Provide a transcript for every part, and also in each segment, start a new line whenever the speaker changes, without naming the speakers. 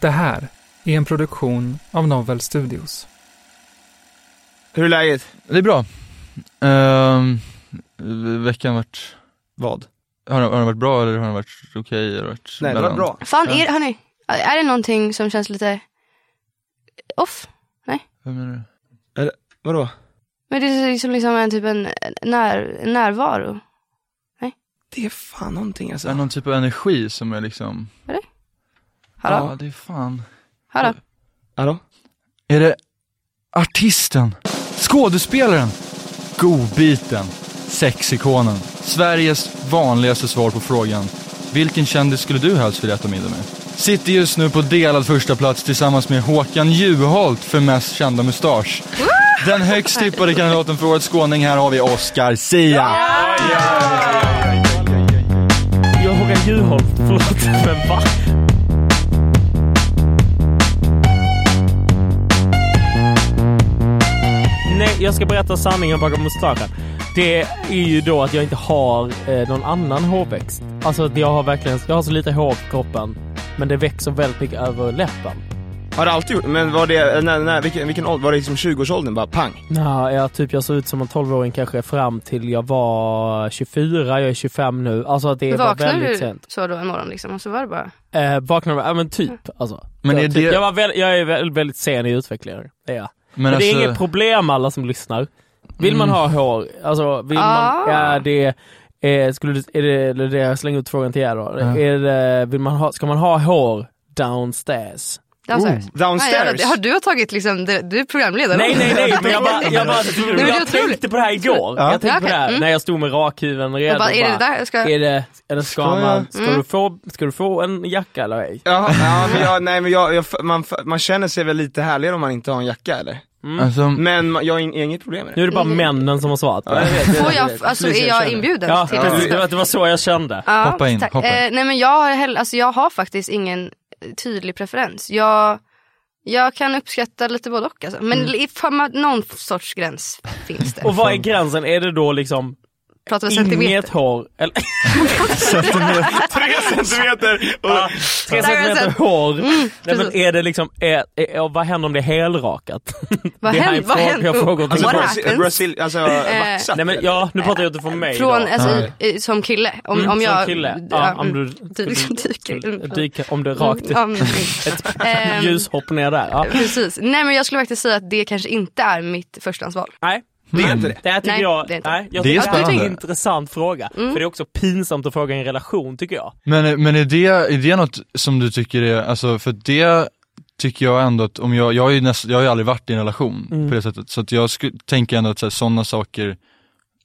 Det här är en produktion av Novel Studios.
Hur är läget?
Det är bra. Ehm, veckan vart,
Vad?
har den, har den varit bra eller har den varit okej? Okay, har den varit
Nej, det var
mellan?
bra.
Fan, är, hörni, är det någonting som känns lite off?
Vad menar du?
Vadå?
Men det är som liksom en typ en när, en närvaro.
Det är fan någonting
Är det
alltså.
någon typ av energi som är liksom,
Hallå?
ja det är fan.
Hallå?
Hallå?
Är det artisten, skådespelaren, godbiten, sexikonen, Sveriges vanligaste svar på frågan. Vilken kändis skulle du helst vilja äta middag med? Sitter just nu på delad första plats tillsammans med Håkan Juholt för mest kända mustasch. Den högst tippade kandidaten för årets skåning, här har vi Oscar Sia.
Jag Håkan Juholt, förlåt, men va? Nej, jag ska berätta sanningen bakom mustaschen. Det är ju då att jag inte har eh, någon annan hårväxt. Alltså att jag har verkligen, jag har så lite hår på kroppen. Men det växer väldigt mycket över läppen.
Har du alltid gjort Men var det, eh, när, när, vilken, vilken ålder, var det liksom 20-årsåldern bara pang?
Ja, jag, typ jag såg ut som en 12-åring kanske fram till jag var 24, jag är 25 nu. Alltså att det var
Vaknade
väldigt
du
sent.
så då en morgon liksom och så var det bara...
Eh, vaknade med, ja men
Mm.
typ alltså.
Men
jag,
är
typ,
det-
jag, var väl, jag är väl, väldigt sen i utvecklingen. Det är jag. Men, det är inget problem alla som lyssnar. Vill man
alltså- Mm.
ha hår, alltså vill man,
Ah.
är det, eh, skulle du, är det, eller det jag slänger ut frågan till er då.
Ja.
Är det, vill man ha, ska man ha hår downstairs?
Downstairs. Nej, jävlar,
Downstairs?
det har du tagit liksom, det- du är programledare.
Oh. Nej nej nej, men jag, bara, jag, bara,
men det är
jag
otroligt.
tänkte på det här igår.
Ja.
Jag tänkte på det här
Okej, mm.
när jag stod med rakhyveln redo.
Jag bara, är det där jag ska...
är det, är det
Ska
ska,
jag?
man, ska,
Mm.
du få, ska du få en jacka eller ej?
Jaha, ja, men jag, nej men jag, jag man, man känner sig väl lite härligare om man inte har en jacka eller?
Alltså,
Mm.
Men ma- jag har in- inget problem med
Nu
det.
är det bara
Mm.
männen som har svarat.
Ja, jag vet, jag
Får
vet,
jag,
vet.
alltså
Precis,
är
jag
jag
känner.
inbjuden
Ja,
till
precis. Det var- det var så jag kände.
Ja,
Hoppa in,
tack.
hoppa in.
Eh, nej men jag har, heller, alltså, jag har faktiskt ingen eh, tydlig preferens. Jag, jag kan uppskatta lite både och alltså. Men
Mm.
i fan, någon sorts gräns finns det.
Och vad är gränsen? Är det då liksom
Pratar vi
inget
centimeter?
hår? Eller,
Tre centimeter! Och,
Ja, tre centimeter
cent-
hår? Nej, men
Mm, precis.
är det liksom, är, är, och vad händer om det är helrakat?
Vad
Det här är
händer?
en
Vad
fråga-
händer?
jag frågar också.
alltså
What
Brasil,
happens?
Brasil, alltså vaxat?
Nej men ja, nu pratar jag utifrån mig
Från,
då.
alltså, i- i- som kille. Om,
Mm,
om jag... mm.
Som kille? Ja, om du
liksom Dyker, dyker.
dyker, om det är rakt
Ja, men- Ehm,
ett ljushopp ner där. Ja.
Precis. Nej men jag skulle faktiskt säga att det kanske inte är mitt förstahandsval.
Nej,
det är inte det.
det här tycker
Nej,
jag,
det Mm. är inte.
nej, jag
Det är
tycker att det är
spännande.
en intressant fråga. För det är också pinsamt att fråga i en relation tycker jag.
Men, men är, det, är det något som du tycker är, alltså för det tycker jag ändå att om jag, jag, har, ju näst, jag har ju aldrig varit i en relation
Mm.
på det sättet, så att jag sku, tänker ändå att sådana saker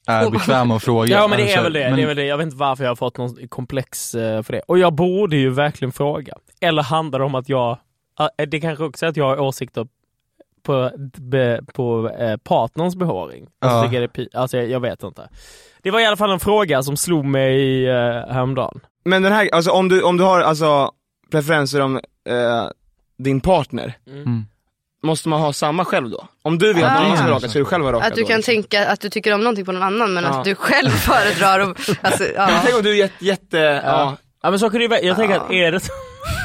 är bekväma att fråga.
Ja men det
Alltså,
är väl det.
men-
det, är väl det. Jag vet inte varför jag har fått någon komplex eh, för det. Och jag borde ju verkligen fråga. Eller handlar det om att jag, eh, det kanske också är att jag har åsikter på, be, på eh, partnerns behåring. Alltså,
Ja.
tycker jag det är pi- alltså jag, jag vet inte. Det var i alla fall en fråga som slog mig eh, häromdagen.
Men den här, alltså om du, om du har alltså preferenser om eh, din partner,
Mm.
måste man ha samma själv då? Om du vill att
Ah.
någon annan ska raka, ska du själv vara rakad
Att du
då,
kan
liksom?
tänka att du tycker om någonting på någon annan men
Ja.
att du själv föredrar och, alltså, ja.
Men Tänk om du är jätte, jätte ja.
Ja men så kan det ju vara. Jag tänker att är det så...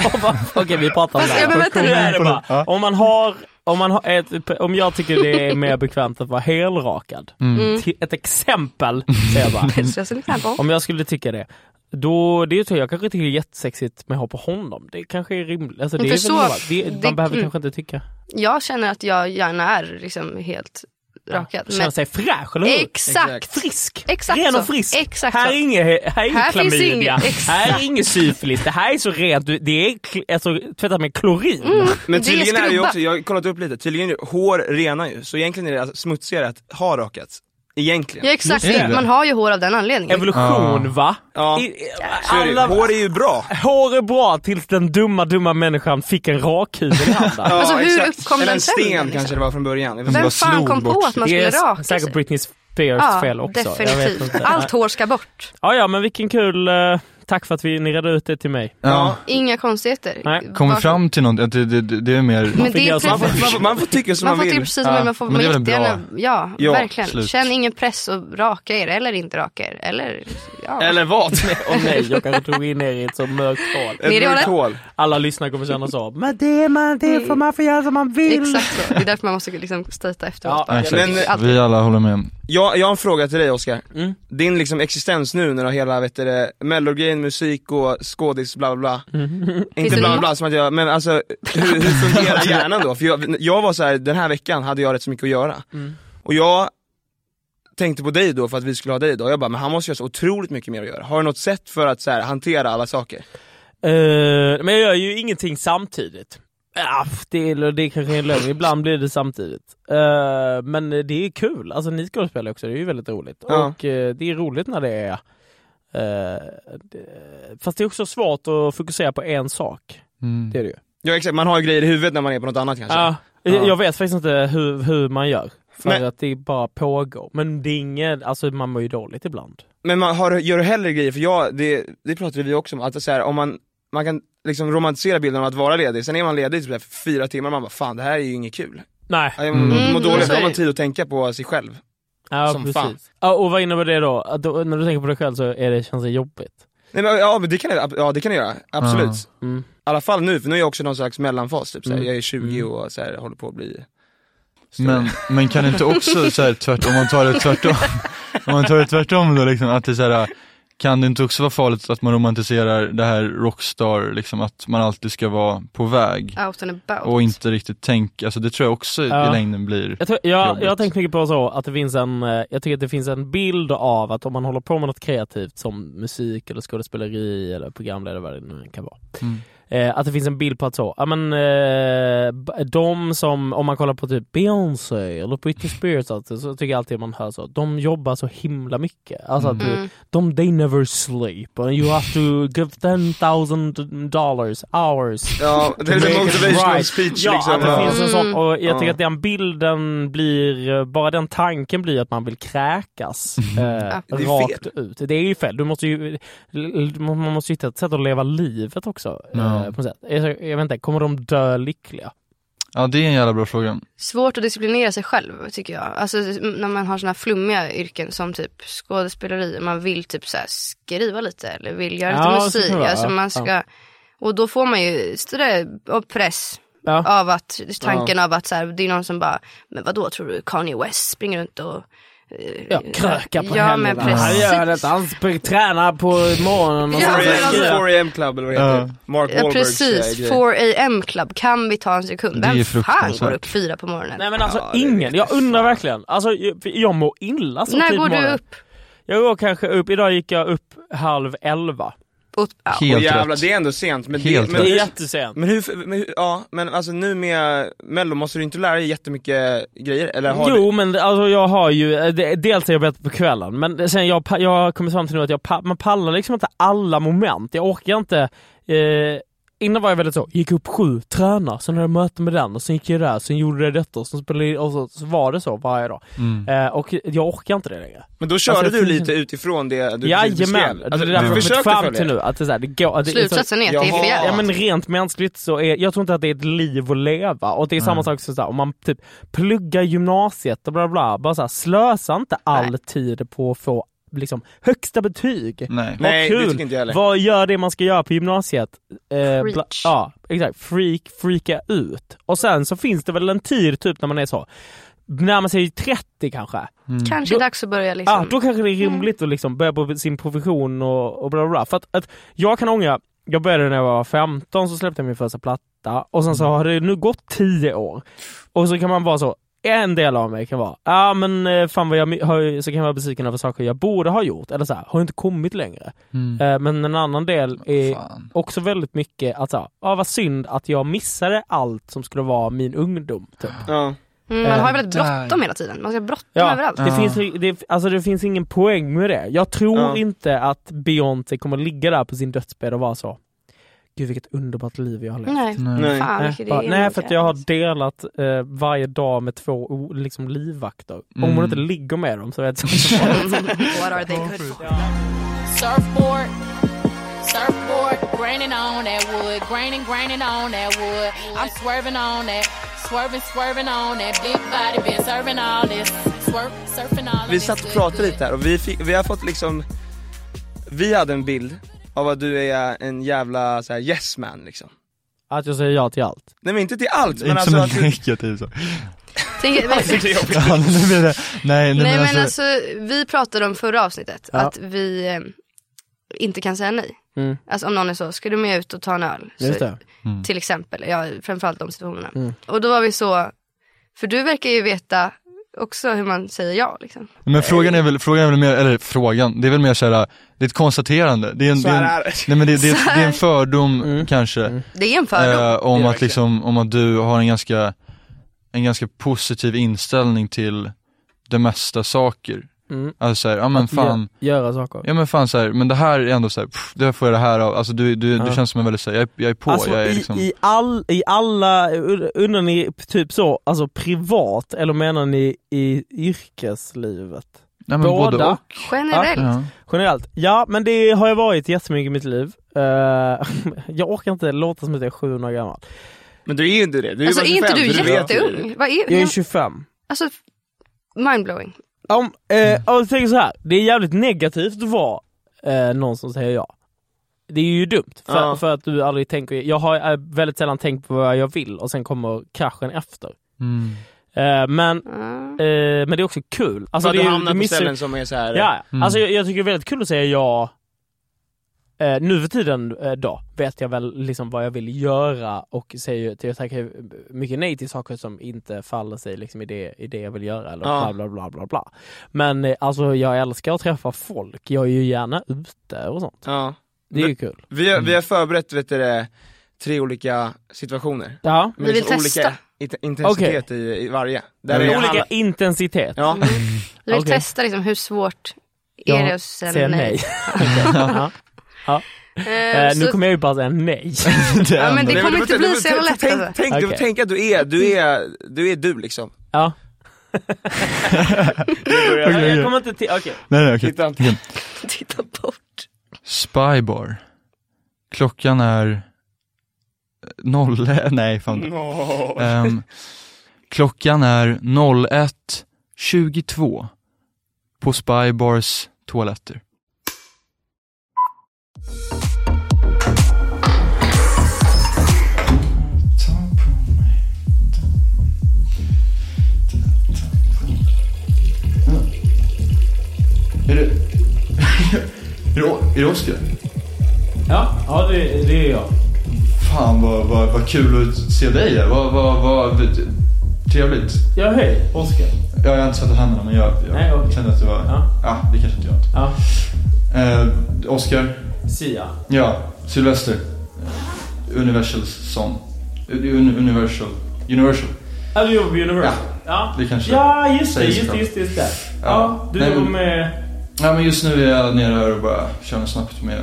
Okej vi pratar om det
Fast, ja,
här.
men vänta
Nu är
nu.
det bara, om man har, om, man har ett, om jag tycker det är mer bekvämt att vara helrakad.
Mm.
Till- Ett exempel säger jag bara.
Så jag ser lite här på.
Om jag skulle tycka det. Då, det är ju så, jag kanske tycker det är jättesexigt med att ha på honom. Det kanske är rimligt. Alltså, det
Men
är
för
väl
så-
normalt. det, man
det-
behöver
mm.
kanske inte tycka.
Jag känner att jag gärna är liksom helt rakad.
Känna
men-
sig fräsch, eller hur?
Exakt.
Frisk.
Exakt
Ren och
så.
frisk.
Exakt
här är
så.
inget, här är
Här
inget
finns
klamydia.
inget- exakt.
Här är inget syfilis. Det här är så rent. du- Det är kl- alltså, tvättat med klorin.
Men
Det är
tydligen är det ju
skrubba.
också, jag har kollat upp lite, tydligen är hår renar ju, så egentligen är det alltså smutsigare att ha rakat. Egentligen.
Ja exakt,
Just det.
man har ju hår av den anledningen.
Evolution va?
Ja,
I- i-
Så är det ju.
alla,
Hår är ju bra.
hår är bra tills den dumma, dumma människan fick en rakhyvel i handen.
Ja,
Alltså, hur uppkom
Eller
den
en
sen,
sten
liksom?
kanske det var från början. Jag vet
Vem
inte.
fan
slog
kom på
bort.
att man
Det
skulle raka
är
sig?
säkert Britney Spears fel också. Jag vet
definitivt.
inte.
Allt hår ska bort.
Ja, ja, men vilken kul... eh, tack för att vi, ni redde ut det till mig.
Ja.
Inga konstigheter.
Nej,
Kommer
Var-
fram till något, att det, det, det det är mer...
Men det är
Man får
Man
precis-
får, man, får, man får tycka som
Man
man,
får typ- tycka
vill.
precis
Ja,
som man får
men det är väl bra.
jättegärna, ja,
Ja,
verkligen.
slut.
Känn ingen press att raka er eller inte raka er. Eller, ja.
Eller vad?
Och nej, jag kanske tog in er i ett så mörkt hål.
Ner i
Ett mörkt
hålet.
hål.
Alla lyssnare kommer känna så. Men det, är man, det får man få göra som man vill.
Exakt så. Det är därför man måste liksom stöta efteråt.
Ja,
Exakt.
Men- eh,
Alltid.
Vi alla håller med.
Jag, jag har en fråga till dig Oskar.
Mm.
Din liksom existens nu när du har hela vet du, det, mellogrejen, musik och skådis bla bla bla. Inte
det
bla
nå-
bla som att jag, men alltså hur, hur fungerar hjärnan då? För jag, jag var så här, den här veckan hade jag rätt så mycket att göra.
Mm.
Och jag tänkte på dig då för att vi skulle ha dig idag. Jag bara, men han måste ju ha så otroligt mycket mer att göra. Har du något sätt för att så här, hantera alla saker?
Eh, men jag gör ju ingenting samtidigt. Ah, det, är, det är kanske är en lögn, ibland blir det samtidigt. Eh, men det är kul, alltså ni skådespelare också, det är ju väldigt roligt.
Ja.
Och eh, det är roligt när det är... eh, det, fast det är också svårt att fokusera på en sak.
Mm.
Det är det ju.
Ja exakt, man har ju grejer i huvudet när man är på något annat kanske.
Ja,
Ja.
Jag vet faktiskt inte hur, hur man gör. För
Nej.
att det bara pågår. Men det är inget, alltså man mår ju dåligt ibland.
Men man har, gör du hellre grejer, för jag, det, det pratade vi också om, att så här, om man, man kan liksom romantisera bilden av att vara ledig, sen är man ledig i typ så här fyra timmar och man bara fan det här är ju inget kul.
Nej.
Jag
Mm.
mår
Mm,
dåligt,
så
då
är
har man
det.
tid att tänka på sig själv.
Ja,
Som fan.
precis. Ja, och vad innebär det då? Att då? När du tänker på dig själv så är det, känns det jobbigt.
Nej, men, ja men det kan jag, ja, det kan jag göra, absolut.
Ja.
I
Mm.
alla fall nu, för nu är jag också någon slags mellanfas, typ, så här,
Mm.
jag är 20 och så här, håller på att bli stor.
Men, men kan det inte också så här, tvärtom, om man tar det tvärtom, om man tar det tvärtom då liksom, att det är så här, kan det inte också vara farligt att man romantiserar det här rockstar, liksom att man alltid ska vara på väg
Out and about.
och inte riktigt tänka, alltså det tror jag också
Ja.
i längden blir,
Jag, tror, jag,
Jobbigt.
jag har tänkt mycket på så att det finns en, eh, jag tycker att det finns en bild av att om man håller på med något kreativt som musik eller skådespeleri eller programledare vad det nu kan vara.
Mm.
Eh, att det finns en bild på att så, ja men eh, b- de som, om man kollar på typ Beyoncé eller Britney Spears alltså, så tycker jag alltid man hör så, de jobbar så himla mycket. Alltså att du,
Mm.
de, they never sleep and you have to give 10,000 dollars hours
Ja, det är
Make it
en motivational
right.
speech
Ja,
liksom.
att det
Ja.
finns en sån.
Mm.
Och jag tycker
Ja.
att den bilden blir, bara den tanken blir att man vill kräkas eh,
Mm. Det är fel.
rakt ut. Det är ju fel. Du måste ju, man måste ju hitta ett sätt att leva livet också.
Ja.
Eh, på något sätt. Jag, jag vet inte, kommer de dö lyckliga?
ja det är en jävla bra fråga.
Svårt att disciplinera sig själv tycker jag. Alltså när man har såna här flummiga yrken som typ skådespeleri. Man vill typ så här skriva lite eller vill göra
Ja,
lite
så
musik.
kan det vara.
Alltså,
Ja.
man ska, Och då får man ju sådär, och press
Ja.
av att tanken av att så här, det är någon som bara, men vadå tror du Kanye West springer runt och eh,
Ja, kröka på
Ja men
helgerna. Han
precis.
gör detta. Han sp- tränar på morgonen. Och
Ja,
så.
4
men alltså-
4am club eller vad det heter.
Ja.
Mark
Ja,
Wahlbergs eh,
precis,
grej.
4am club, kan vi ta en sekund?
Det är
Vem fan
fruktansvärt.
går upp fyra på morgonen?
Nej men alltså
Ja, det är
ingen.
riktigt
Jag undrar verkligen. Alltså jag, för jag mår illa så
När
tid på
går du
morgonen.
upp?
Jag går kanske upp, idag gick jag upp halv elva.
Och, ja.
Och
Helt
jävlar,
rätt.
det är ändå sent. Men det,
Helt
men,
det är
hur-
jättesent.
Men hur, men hur, ja, men alltså nu med mello måste du inte lära dig jättemycket grejer? Eller Eh, har
Jo men alltså jag har ju, eh, det- dels är jag bättre på kvällen men sen jag, pa- jag har kommit fram till nu att jag, pa- man pallar liksom inte alla moment. Jag orkar inte. Eh, innan var jag väldigt så, gick upp sju, träna, sen hade jag möte med den och sen gick jag där, sen gjorde jag detta och sen spelade jag- och så, så var det så varje dag.
Mm.
Eh, och jag orkar inte det längre.
du, men då körde
Alltså,
du
jag-
lite utifrån det du precis
Jajamän!
beskrev.
Alltså, det
du
är därför jag har
försökte
kommit fram
följa
till
det.
nu att det är så här, det går. Att det, är så-
Slutsatsen är att det är
Jaha.
för jävligt.
Ja men rent mänskligt så är, jag tror inte att det är ett liv att leva. Och det är samma
Nej.
sak som så här, om man typ pluggar gymnasiet och bla bla. Bara så här, slösa inte all
Nej.
tid på att få liksom, högsta betyg.
Nej.
Vad
Mm. Nej, det
kul.
tycker inte jag heller.
Vad gör det man ska göra på gymnasiet? Eh, bla,
Preach.
ja, exakt. Freak, freaka ut. Och sen så finns det väl en tid typ när man är så, närmar sig 30 kanske.
Kanske
Då-
dags att börja liksom.
Ah, då kanske det är rimligt att liksom börja på sin profession och, och bla bla bla. För att, att jag kan ångra, jag började när jag var 15 så släppte jag min första platta och sen så
Mm.
har det nu gått 10 år. Och så kan man vara så, en del av mig kan vara, ja ah, men eh, fan vad jag mi- har, ju- så kan jag vara besviken över saker jag borde ha gjort, eller så här, har inte kommit längre.
Mm.
Eh, men en annan del är
Fan.
också väldigt mycket att såhär, ah, vad synd att jag missade allt som skulle vara min ungdom. Typ.
Ja.
mm, man har ju
Eh,
väldigt bråttom hela tiden. Man ska ha bråttom
Ja.
överallt.
Det,
Ja.
finns, det, alltså det finns ingen poäng med det. Jag tror
Ja.
inte att Beyoncé kommer ligga där på sin dödsbädd och vara så Gud vilket underbart liv jag har levt.
Nej.
Nej.
Fan,
Nej,
vilken
bara,
idé.
nej för att jag har delat eh, varje dag med två o- liksom, livvakter. Om
Mm.
hon inte ligger med dem så vet jag inte.
What are they good for?
Surfboard, surfboard, graining on that wood, graining, graining on that wood. I'm swerving on that, swerving, swerving on that. Big body been serving all this, swerp, surfing all of
Vi
this
satt och
good,
pratade
good.
lite här och vi, fick, vi har fått liksom Vi hade en bild av att du är en jävla så här, yes man liksom
att jag säger ja till allt.
Nej men inte till allt men
inte
alltså
som
att
en
du,
negativ så.
Tänk,
Alltså,
men,
Ja, nu blir det, nej, nu
Nej men
alltså,
alltså, vi pratade om förra avsnittet
Ja.
att vi eh, inte kan säga nej.
Mm.
Alltså om någon är så, ska du med ut och ta en öl?
Just
så,
det.
Till exempel, ja, framförallt de situationerna.
Mm.
Och då var vi så, för du verkar ju veta också hur man säger ja liksom.
Men frågan är väl, frågan är väl mer, eller frågan, det är väl mer såhär, det är ett konstaterande. Det är en,
så
det är en,
här är det
nej men det, det, är ett- det är en fördom
Mm.
kanske.
Det är en fördom.
Eh, om
Det är
att
verkligen.
liksom, om att du har en ganska, en ganska positiv inställning till det mesta saker.
Mm.
Alltså såhär, ja men fan,
Gö- göra saker.
ja men fan såhär, men det här är ändå såhär, pff, det här får jag det här av, alltså du, du,
Ja.
du känns som en väldigt såhär, jag, är- jag är på,
alltså,
jag är
i,
liksom
i, all, I alla, undrar ni typ så, alltså privat eller menar ni i yrkeslivet?
Nej men både,
båda.
och.
Generellt.
Ja.
Generellt? Ja, men det har jag varit jättemycket i mitt liv. Eh, jag orkar inte låta som att jag är 700 år gammal.
Men du är ju inte det, du är ju
Alltså
bara
är inte
25,
du
så vet ju det.
Alltså,
jätteung? Vad är,
Jag är 25.
Alltså, mindblowing.
Om,
Mm.
eh, om jag tänker så här, det är jävligt negativt att vara eh, någon som säger ja. Det är ju dumt, för,
Ja.
för att du aldrig tänker, jag har eh, väldigt sällan tänkt på vad jag vill och sen kommer kraschen efter.
Mm.
Eh, men,
Ja.
eh, men det är också kul. Alltså,
För
det
att
är
du
ju-
hamnar på
det missar-
ställen som är så här.
Ja, ja.
Mm.
alltså jag, jag tycker det är väldigt kul att säga ja. Eh, nu för tiden eh, då vet jag väl liksom vad jag vill göra och säger ju till jag tackar ju mycket nej till saker som inte faller sig liksom i, det, i det jag vill göra eller
Ja.
bla bla bla bla bla. Men eh, alltså jag älskar att träffa folk, jag är ju gärna ute och sånt.
Ja.
Det är ju kul.
Vi, har, vi har förberett vet du, det, tre olika situationer
Ja.
Med
Vi vill
liksom olika
testa.
it- intensitet i, i varje där
Med
är
olika
alla-
intensitet.
Ja,
Vi vill
Okej.
testa liksom, hur svårt är
Ja,
det att säga
Säga
nej?
nej. ja.
Eh,
eh, nu
så-
kommer jag ju bara säga nej.
Det är
Ja, men
ändå-
det
Nej, men
kommer
du-
inte
du-
bli
du-
så jävla
tänk-
lätt alltså.
Tänk, du-
Okej.
tänk att du är, du är, du är du liksom
Ja.
Okej,
Jag
okej.
kommer inte till, okej.
Nej nej okej.
Titta.
Titta bort.
Spybar. Klockan är eh, noll, nej fan. Ehm, klockan är 01.22 på Spybars toaletter. Är det, är det Oskar?
Ja, ja det, det är jag.
Fan vad, vad, vad kul att se dig här. Vad, vad, vad trevligt.
Ja, hej. Oskar.
Ja, jag har inte sett händerna men jag, jag
Nej, okej.
kände att det var...
Ja.
Ja, det kanske inte jag inte.
Ja.
Eh, Oscar.
Sia.
Ja, Sylvester. Eh, Universal son. Eh, Un, universal. Universal.
Ja, du jobbar på Universal. Ja,
det kanske
Ja, just det.
sägs
Just det,
bra.
just det. Just det. Ja,
Ja,
du
nej,
jobbar
men-
med...
Ja, men just nu är jag nere här och bara kör något snabbt med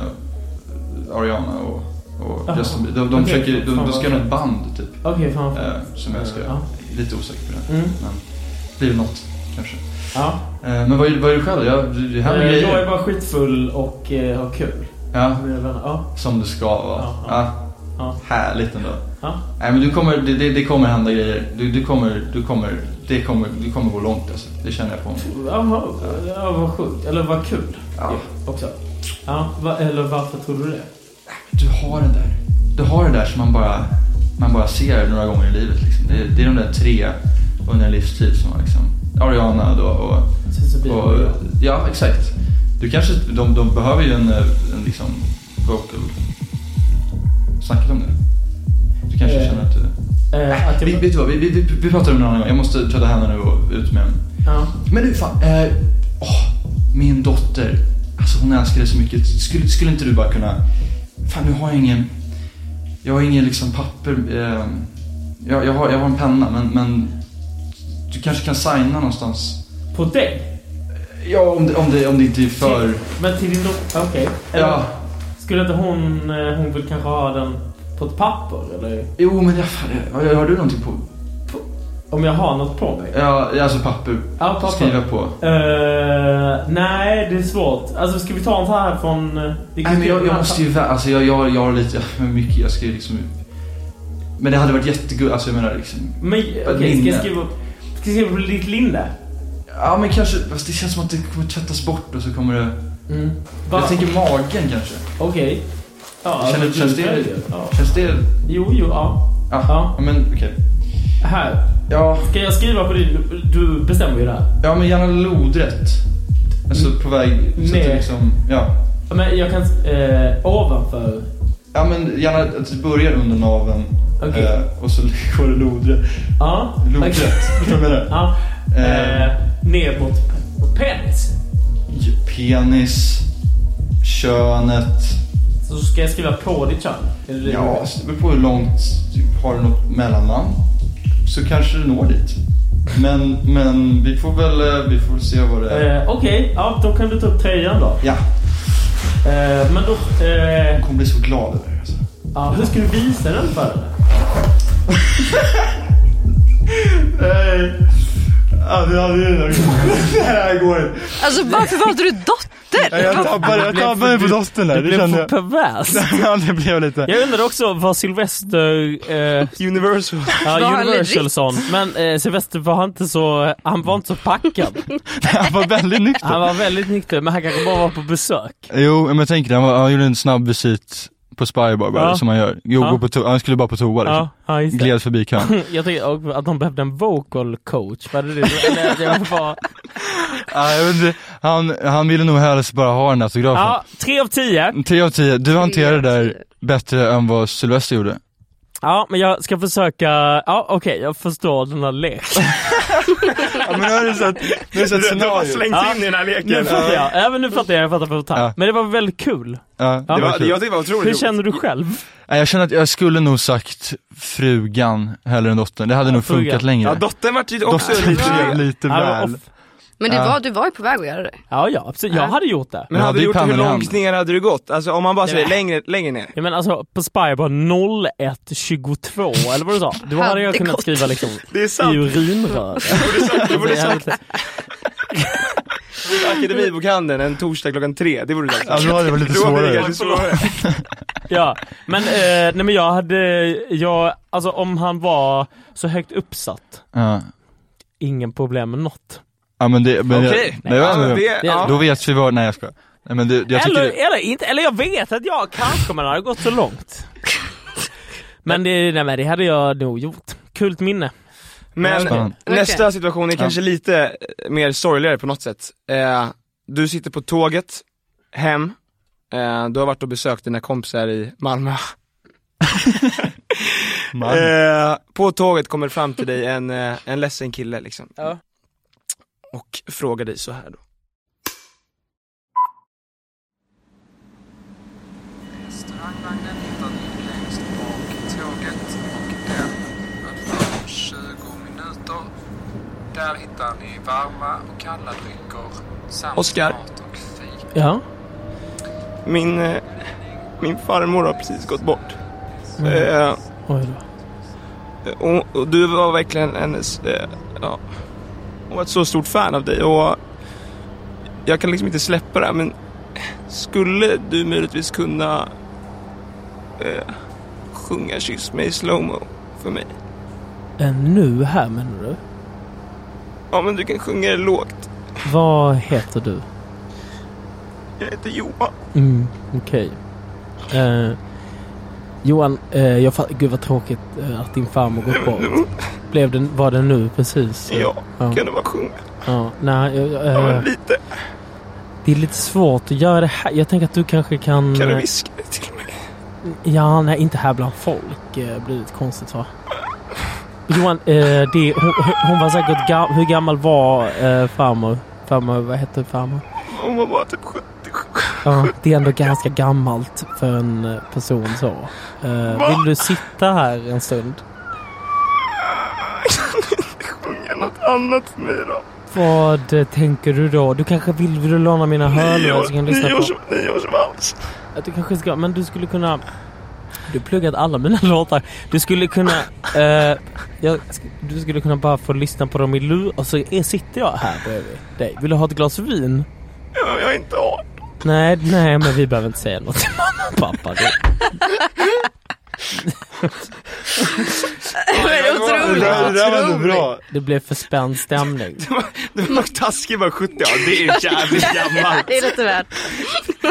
Ariana och, och Justin Bieber. De, de,
Okej,
försöker,
fan
de, de
vad
ska göra något band typ.
Okej, fan. fan.
Eh, som jag ska...
Ja.
Lite osäker på det.
Mm.
Men det blir väl något kanske.
Ja.
Eh, men vad, är- vad är du själv? Jag, det det här
Eh,
med grejer.
Jag är bara skitfull och eh, har kul.
Ja,
Mina vänner. Ja.
som det ska vara.
Ja,
Ja,
ja.
Härligt ändå.
Ja.
Nej men du kommer, det, det, det kommer hända grejer. Du, du kommer, du kommer, det kommer, du kommer gå långt alltså. Det känner jag på mig.
Jaha, ja, vad sjukt. Eller vad kul.
Ja.
Också. Ja, va, eller varför tror du det?
Du har den där, du har det där som man bara, man bara ser några gånger i livet liksom. Det, det är de där tre under en livstid som man liksom, Ariana då och
så blir
Och,
det bra.
ja, exakt. Du kanske, de, de behöver ju en, eh, en liksom vocal... Snackat om det? Du kanske
Eh,
känner att du...
Eh, att
vi,
jag,
vet du vad, vi, vi, vi- vi pratar om det en annan gång. Jag måste tvätta händerna nu och ut med en.
ja.
Men du, fan. Eh, åh, min dotter. Alltså hon älskar dig så mycket. Skulle, skulle inte du bara kunna... Fan, nu har jag ingen... Jag har ingen liksom papper. Eh, jag, jag, har, jag har en penna, men, men... Du kanske kan signa någonstans.
På dig?
Ja, om det, om det, om det inte är för...
Men till din dotter? Okej. Typ, Eller-
Ja,
Skulle inte hon... eh, Hon vill kanske ha den på ett papper eller?
jo men jag, fan, jag- har du någonting på...
Om jag har något på mig?
Ja, alltså papper.
Ja, papper.
Skriva på.
Eh, nej, det är svårt. Alltså ska vi ta en sån här från... eh, vi kan
Nej men
skriva
jag, jag
den här-
måste ju vä- alltså jag, jag, jag har lite, jag har mycket, jag ska ju liksom Men det hade varit jättegulligt, alltså jag menar liksom
Men okej, ska
linne.
jag skriva... Ska jag skriva på ditt linne?
Ja men kanske, fast det känns som att det kommer tvättas bort och så kommer det
Mm.
Jag tänker magen kanske
Okej. Ja,
Känner-
alltså,
känns
du
det-
väljer. Ja.
Känns det,
Jo, jo, ja.
ja,
Ja.
ja. men okej
Här.
ja,
Ska jag skriva på din... Du bestämmer ju det här.
ja men gärna lodrätt Alltså på väg, så att det
Nej.
liksom, ja
Men jag kan... Eh, ovanför.
Ja men gärna att det börjar under naveln
Okej.
eh, och så går det lodrätt
Ja.
Lodrätt,
okej.
förstår du vad jag menar?
Ja.
Eh.
Eh, ner mot pe- penis.
Penis, könet
Så ska jag skriva på ditt kön? Eller-
Ja, alltså. så det beror på hur långt har du något mellannamn så kanske du når dit. Men, men vi får väl eh, vi får väl se vad det är.
Eh, Okej, ja, då kan du ta upp tröjan då.
Ja,
Eh, men då... Eh,
jag kommer bli så glad över det. Alltså.
ja, hur ska du visa den för henne?
Nej, ja, det hade ju Det här går inte.
Alltså varför valde du dotter?
Jag tappade, jag tappade på dottern där, det kände jag.
pervers.
Ja, det blev lite.
Jag undrar också vad Sylvester... Eh,
Universal.
ja,
han
Universalson. Men eh, Sylvester var inte så... Han var inte så packad.
Han var väldigt nykter.
Han var väldigt nykter, men han kanske bara var på besök.
Jo, men tänk dig, han, var- han gjorde en snabb visit på Spybar bara,
Ja.
som man gör. Jo,
Ja.
gå på to- han skulle bara på toa liksom.
Ja, ja just det.
Gled förbi kön.
Jag tänkte och att de behövde en vocal coach. Var det det? Eller, det var bara...
Ja, jag vet inte. Han, han ville nog helst bara ha den autografen.
Ja, tre av tio.
3 av 10, du hanterar det
av
där bättre än vad Sylvester gjorde.
Ja, men jag ska försöka... Ja, okej, jag förstår den här leken.
Ja men nu har du sett, nu har du sett scenario.
Ja.
in i den här leken.
Nu fattar jag. Även nu fattar jag. Jag fattar på tanke.
Ja.
Men det var väldigt kul.
Ja, det
Ja.
Det
var
var,
kul.
jag tyckte det var otroligt
Hur
roligt.
känner du själv?
Nej, Jag känner att jag skulle nog sagt frugan hellre än dottern, det hade nog funkat
frugan.
längre.
Ja, dottern vart ju också
Dottern
lite...
blev lite
Ja, men
väl.
off-
Men det var, du var ju på väg att göra det.
Ja, ja, absolut. Jag hade gjort det.
Men
Ja,
hade
det
du
är
gjort det, hur
pannan i
långt
hand.
ner hade du gått? Alltså om man bara säger
Nej.
längre, längre ner.
Jag menar alltså på Spy var 0122 eller vad du sa? Då hade jag
Hade
kunnat
gått.
skriva liksom
Det är
i
sant.
urinrör.
Du borde
Jag hade
sagt
inte-
Akademibokhandeln en torsdag klockan tre. Det borde du sagt.
Ja, Alltså, då hade det varit lite
Då hade det
svårare.
kanske svårare.
Ja, men, eh, nej, men jag hade, jag, alltså om han var så högt uppsatt,
Ja.
ingen problem med något.
ja men det, men
Okej.
det, det var
Ja,
ändå-
det- ja.
Då vet vi vad, nej jag skojar. Nej men det, jag tycker
Eller,
det,
eller inte, eller jag vet att jag kanske men det har gått så långt. Men det, nej, men det hade jag nog gjort. Kult minne.
Men
Spännande.
nästa situation är kanske lite eh, mer sorgligare på något sätt. Eh, du sitter på tåget hem, eh, du har varit och besökt dina kompisar i Malmö.
man,
Eh, på tåget kommer fram till dig en, eh, en ledsen kille liksom.
Ja.
Och frågar dig så här då.
Restaurangvagnen hittar ni längst bak i tåget och den öppnar om 20 minuter. Där hittar ni varma och kalla drycker samt
Oscar.
mat och fik.
Ja.
Min, eh, min farmor har precis gått bort. Eh,
Oj då.
och, och du var verkligen hennes, eh, ja, hon var ett så stort fan av dig och jag kan liksom inte släppa det här men skulle du möjligtvis kunna eh, sjunga Kyss mig i slowmo för mig?
Eh, Nu här menar du?
Ja men du kan sjunga det lågt.
Vad heter du?
Jag heter Johan.
Mm, okej. Eh, Johan, eh, jag fa- gud vad tråkigt eh, att din farmor gått bort. Blev den, var det nu precis? eh,
Ja, kan du bara sjunga?
Ja, nej, jag- jag-
Ja,
eh,
men lite.
det är lite svårt att göra det här. Jag tänker att du kanske kan...
Kan du
eh,
viska det till mig?
Ja, nej, inte här bland folk eh, blir det konstigt va? Johan, eh, det, hon, hon var säkert... Gam, hur gammal var eh, farmor? Farmor, vad hette farmor?
Hon var bara typ 70.
Ja, det är ändå ganska gammalt för en eh, person så. Eh, vill du sitta här en stund?
Sjunga något annat för mig då.
Vad eh, tänker du då? Du kanske vill, vill du låna mina hörlurar så kan du lyssna på...
Nyårsvals.
Att du kanske ska, men du skulle kunna... Du har pluggat alla mina låtar. Du skulle kunna... Eh, jag, sk- du skulle kunna bara få lyssna på dem i lur och så är, sitter jag här bredvid dig. Vill du ha ett glas vin?
Ja, Jag är inte 18.
Nej, nej men vi behöver inte säga något till mamma och pappa. Det,
Men
Det där, det där var inte
otroligt.
bra.
det blev för spänd stämning.
Det var nog taskig bara 70. Ja, det är ju jävligt gammalt.
Det är lite värt.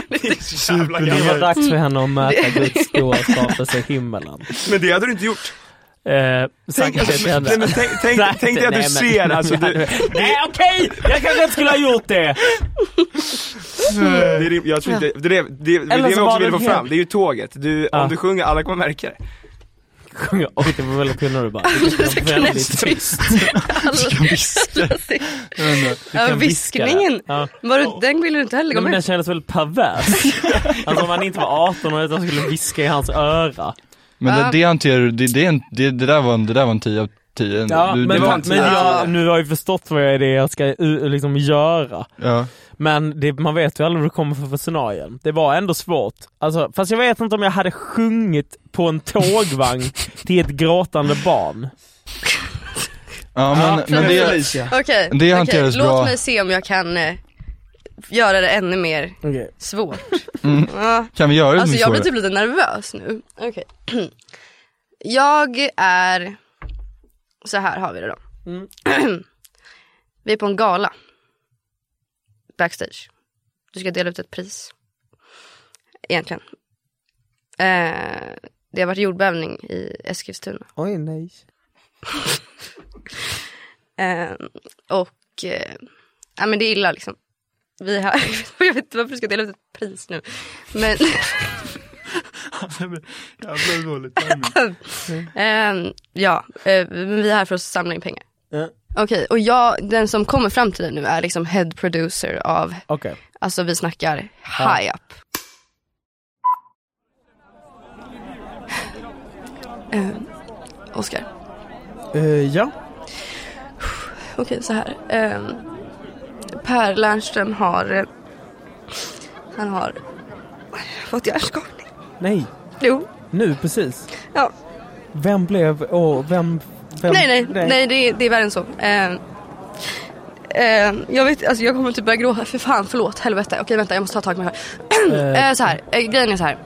Det är så jävla
Det var
gammalt.
dags för henne att möta Guds stora skapelse i himmelen.
Men det hade du inte gjort.
Eh,
Tänk,
sagt det
alltså,
till henne.
nej, men tänk, tänk,
Nej,
tänk dig att du
nej, men-
ser, alltså,
nej,
du,
Nej okej! Jag kanske inte skulle ha gjort det!
det, är rim- jag tror inte, det, är- det, är- det, är det
Eller så
vi
var
också
det
ville få
helt-
fram, det är ju tåget. Du,
Ja.
Om du sjunger, alla kommer märka det.
Sjunga, oj det var väldigt tunna du bara.
Det var väldigt
tyst.
Alltså- Ja, viskningen.
Ja.
Var du, den ville du inte heller gå
Nej, men den
med
kändes väldigt pervers. alltså om han inte var 18 och utan skulle viska i hans öra.
Men
Ja.
det, det hanterar du, det, det, är en- det, det där var en, det där var en 10 av 10.
Ja,
du,
men,
det var,
men jag, nu har jag ju förstått vad jag är det jag ska uh, liksom göra.
ja.
Men det, man vet ju aldrig vad det kommer för, för scenarion. Det var ändå svårt. Alltså, fast jag vet inte om jag hade sjungit på en tågvagn till ett gråtande barn.
ja men, men det,
Okej,
Det
okej.
hanteras bra.
låt mig se om jag kan eh, göra det ännu mer
Okej.
svårt.
Mm.
Ja.
kan vi göra det
Alltså
som
jag
vi
blir
får det?
typ lite nervös nu. Okej. Jag är, så här har vi det då.
Mm.
vi är på en gala. Backstage. Du ska dela ut ett pris. Egentligen. Eh, det har varit jordbävning i Eskilstuna.
Oj nej.
Eh, och eh, ja, men det är illa liksom. Vi har, jag vet inte varför du ska dela ut ett pris nu. Men
Jävla dåligt
Ehm, ja, eh, men vi är här för att samla in pengar.
Ja.
Okej, och jag, den som kommer fram till dig nu är liksom head producer av,
Okej.
alltså vi snackar
Ja.
high up. Ehm, Oscar,
Eh, ja.
okej så här. Ehm, per Lernström har, eh, han har fått hjärnskakning.
Nej.
Jo,
Nu precis.
ja.
Vem blev... Åh, vem... vem
Nej, nej, nej, det, är, det är värre än så. Eh, eh, jag, vet, alltså, jag kommer typ börja gråta. För fan, förlåt, helvete. Okej, vänta, jag måste ta tag i mig här. eh, så här, eh, grejen är så här.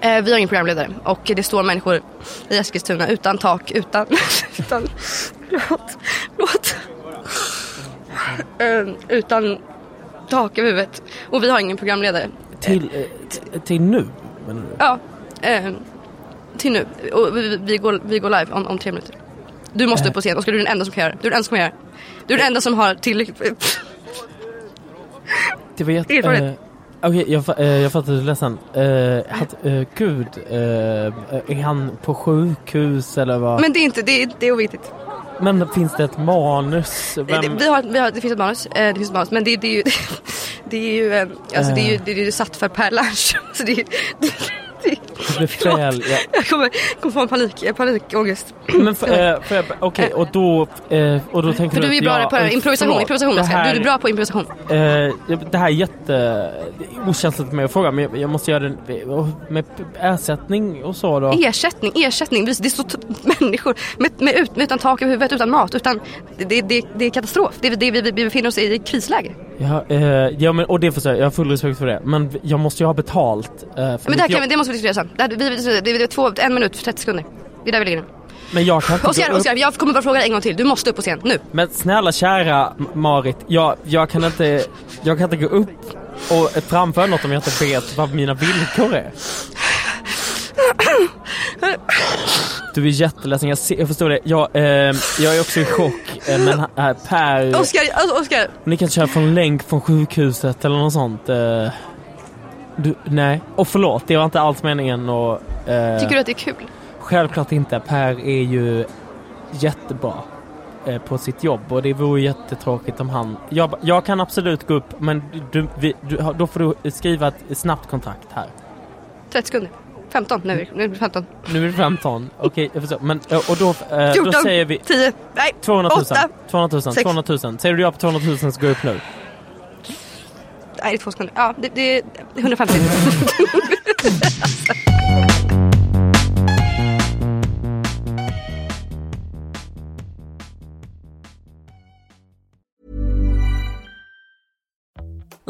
Eh, vi har ingen programledare och det står människor i Eskilstuna utan tak, utan... utan låt, låt. Eh, utan tak över huvudet. Och vi har ingen programledare.
Till, eh, t- till nu? menar du?
Ja, eh, till nu. Och vi, vi, går, vi går live om, om tre minuter. Du måste upp på scen, Oskar du är den enda som kan göra det. Du är den enda som kan göra det. Du är den enda som har tillräckligt...
Det var jätte...
Erfarenhet.
eh, Okej, jag, fa- eh, jag fattar, du är ledsen. Eh, att, eh, gud, eh, är han på sjukhus eller vad?
Men det är inte, det är, det är oviktigt.
Men, finns det ett manus? Vem...
Det, vi har, vi har, det finns ett manus, eh, det finns ett manus. Men det, det är ju... Det är ju, eh, alltså det är ju, det är ju satt för Per Lernström. Så det är ju... Det, det,
Det blev fel. Ja.
jag kommer, kommer få en panik, eh, panikångest.
Men för, eh, för, jag- okej, och då, eh, och då tänker
För du är
att
ju bra
jag-
på
eh,
improvisation,
förlåt,
improvisation
det
Oskar. Du
här,
är bra på improvisation.
eh, jag- det här är jätte det är okänsligt med att fråga, men jag, jag måste göra det med ersättning och så då.
Ersättning, ersättning. Det står t- människor med, med ut, med utan tak över huvudet, utan mat, utan... Det, det, det är katastrof. Det, är- det, vi, vi befinner oss i krisläge.
Ja, eh, ja, men, och det förstår jag, jag har full respekt för det. Men jag måste ju ha betalt. Eh, för
Men
mitt
det, här kan
jobb.
vi, det måste vi diskutera sen. Det, här, vi, vi- det, det är två, en minut för 30 sekunder. Det är där vi ligger nu.
men jag kan inte
Oskar,
gå upp.
Oskar, jag kommer bara fråga dig en gång till. Du måste upp på scen, nu.
Men snälla kära M- Marit, jag, jag, kan inte, jag kan inte gå upp och framföra något om jag inte vet vad mina villkor är. Du är jätteledsen, jag, ser, jag förstår det. Jag, eh, jag är också i chock. eh, Men här, Per,
Oskar, alltså Oskar.
ni kan köra från länk från sjukhuset eller något sånt. eh. Du, nej. Och förlåt, det var inte alls meningen och, eh,
Tycker du att det är kul?
Självklart inte. Per är ju jättebra eh, på sitt jobb och det vore jättetråkigt om han... Jag, jag kan absolut gå upp men du, vi, du, då får du skriva ett snabbt kontrakt här.
30 sekunder. 15, nu är det- nu är det 15.
Nu är det 15, okej jag förstår. Men, eh, och då, eh, då
14.
säger vi
10, nej.
200 000.
Åtta.
200 000,
Sex.
200 000. Säger du ja på 200 000 så går jag upp nu.
Nej, det är två sekunder. Ja, det, det är 150.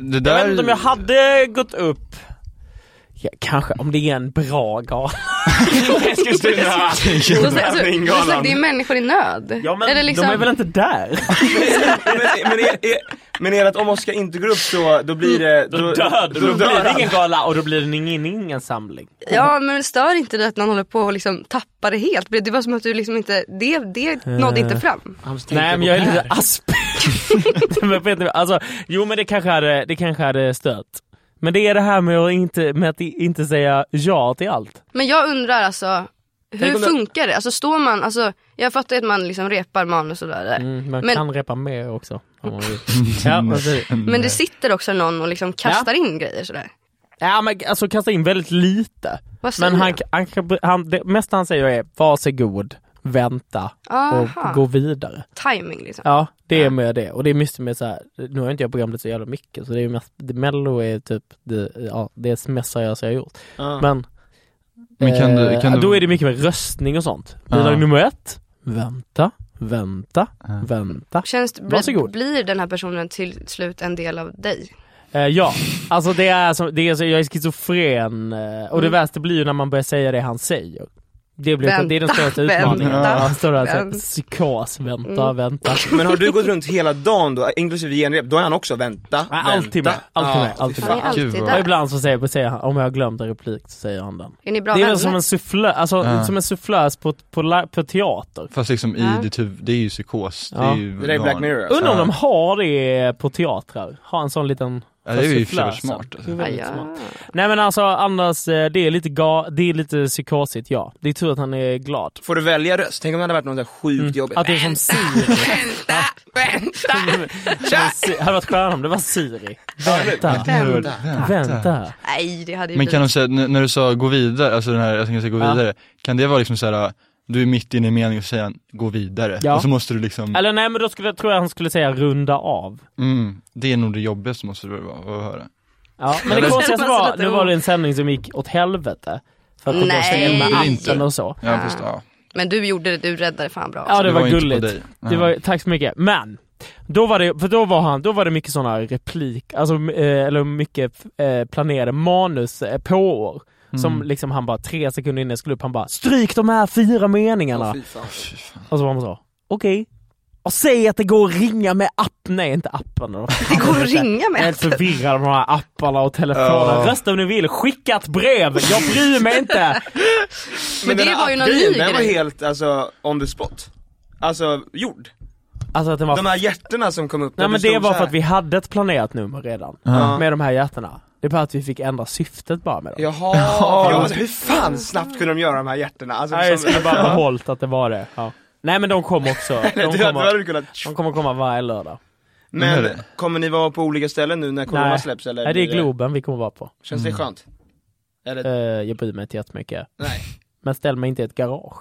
Det
Jag vet
där...
inte om jag hade gått upp. Ja, kanske om det är en bra gala.
Eskilstuna!
Då sä- alltså,
Ingen
då sä-
annan.
det är människor i nöd.
Ja, men
Eller liksom,
de är väl inte där?
men, men, är, är, men är det att om Oskar inte går upp så, då blir det...
Då, dör, då, blir det ingen gala och då blir det ingen, ingen samling.
Ja, men stör inte det att någon håller på och liksom tappar det helt? Det var som att du liksom inte, det, det nådde
Eh.
inte fram.
Nej men jag är lite asp. Men jag vet inte, alltså, jo men det kanske hade, det kanske hade stört. Men det är det här med att inte, med att i- inte säga ja till allt.
Men jag undrar alltså,
Tänk
hur
om det-
funkar det? Alltså står man, alltså, jag fattar ju att man liksom repar manus och sådär.
Mm, man
Men-
kan repa mer också. om man vill. ja, vad säger du?
Men det sitter också någon och liksom kastar in grejer sådär.
ja men alltså kasta in väldigt lite.
Vad säger
Men han,
jag?
han, kan- han, det mesta han säger är varsågod, vänta
Aha,
och gå vidare.
timing liksom.
Ja, det är med det. Och det är mycket med så här, nu har inte jag programmet så jävla mycket, så det är ju mest, det, Mello är typ det, ja, det är mest seriösa jag har gjort. Men,
Men kan du-
eh,
kan du-
då är det mycket med röstning och sånt. Bidrag
Ja.
nummer ett, vänta, vänta,
Ja.
vänta.
Känns, blir,
Varsågod.
blir den här personen till slut en del av dig?
Eh, ja, alltså det är som, det är så, jag är schizofren eh, och det
Mm.
värsta blir ju när man börjar säga det han säger. Det, blir, det är den
Vänta,
största utmaningen.
vänta,
Ja, står där, så här,
vänta. Mm.
psykos, vänta, vänta.
Men har du gått runt hela dagen då, inklusive genrep, då är han också vänta,
Nej, alltid med,
vänta.
alltid med,
Ja.
alltid
Han
med.
är
Gud,
alltid
vad-
Och
där.
ibland så säger, säger han, om jag har glömt en replik så säger han den.
Är ni bra
det är
vänner?
väl som en sufflö, alltså
Ja.
som en sufflös på, på, la- på teater.
Fast liksom i
Ja.
ditt huvud, det är ju psykos. Det
Ja.
är ju
Det där är Black Mirror alltså.
Undrar om
Ja.
de har det på teatrar? Har en sån liten
Ja, det är ju i och för sig
sufflös.
smart. Alltså.
Det är
Ja,
väldigt smart.
ja.
Nej men alltså annars, eh, det är lite, ga- det är lite psykosigt ja. Det är tur att han är glad.
Får du välja röst? Tänk om det hade varit något där sjukt
Mm.
jobbigt. Äh,
Att Mm. det är som Siri. Men Si- hade varit skönare om det var Siri. Vänta,
Vänta.
vänta.
Nej, det hade ju
Men
blivit...
kan de säga, n- när du sa gå vidare, alltså den här, jag ska säga gå
Ja.
vidare, kan det vara liksom så här, du är mitt inne i meningen och säger gå vidare,
Ja.
och så måste du liksom,
Eller nej men då skulle, tror jag han skulle säga runda av.
mm, det är nog det jobbigaste måste det vara att höra.
Ja, men det
Eller-
konstigaste
Känns
var,
lite
nu var det
o-
en sändning som gick åt helvete. För att de
Nej.
stängde med
Det
är inte.
appen och så.
Ja, fast, ja.
Men du gjorde det, du räddade fan bra.
Ja det, var,
ju inte på
gulligt.
dig.
Det
Ja.
var, tack så mycket. Men, då var det, för då var han, då var det mycket sådana replik, alltså eh, eller mycket eh, planerade manus eh, på år. Som
Mm.
liksom han bara tre sekunder innan jag skulle upp, han bara stryk de här fyra meningarna.
Åh, fy fan.
och så var Alltså man så, okej. Och säg att det går att ringa med app, nej inte appen. då.
Det går att ringa
Jag är
med.
helt förvirrad med de här apparna och telefonerna.
Ja.
Rösta om ni vill, skicka ett brev, jag bryr mig inte.
Men det
den
var ju någon
appgrejen,
ny
Den var
grej.
helt alltså on the spot. Alltså gjord.
Alltså att den var
De här hjärtorna som kom upp. där
Nej men
stod
det var
så här.
för att vi hade ett planerat nummer redan
Ja.
med de här hjärtorna. Det är bara att vi fick ändra syftet bara med dem.
Jaha! Jag bara, hur fan snabbt kunde de göra de här hjärtorna? Alltså,
Nej, jag
som-
skulle bara behållit att det var det. Ja. Nej men de kom också.
Eller,
De
du- du hade
kommer,
kunnat-
de kommer komma varje lördag.
Men kommer ni vara på olika ställen nu när corona
Nej.
släpps eller?
Nej det är
blir
Globen vi kommer vara på.
Känns det skönt? Eller?
Eh, jag bryr mig inte jättemycket.
Nej.
Men ställ mig inte i ett garage.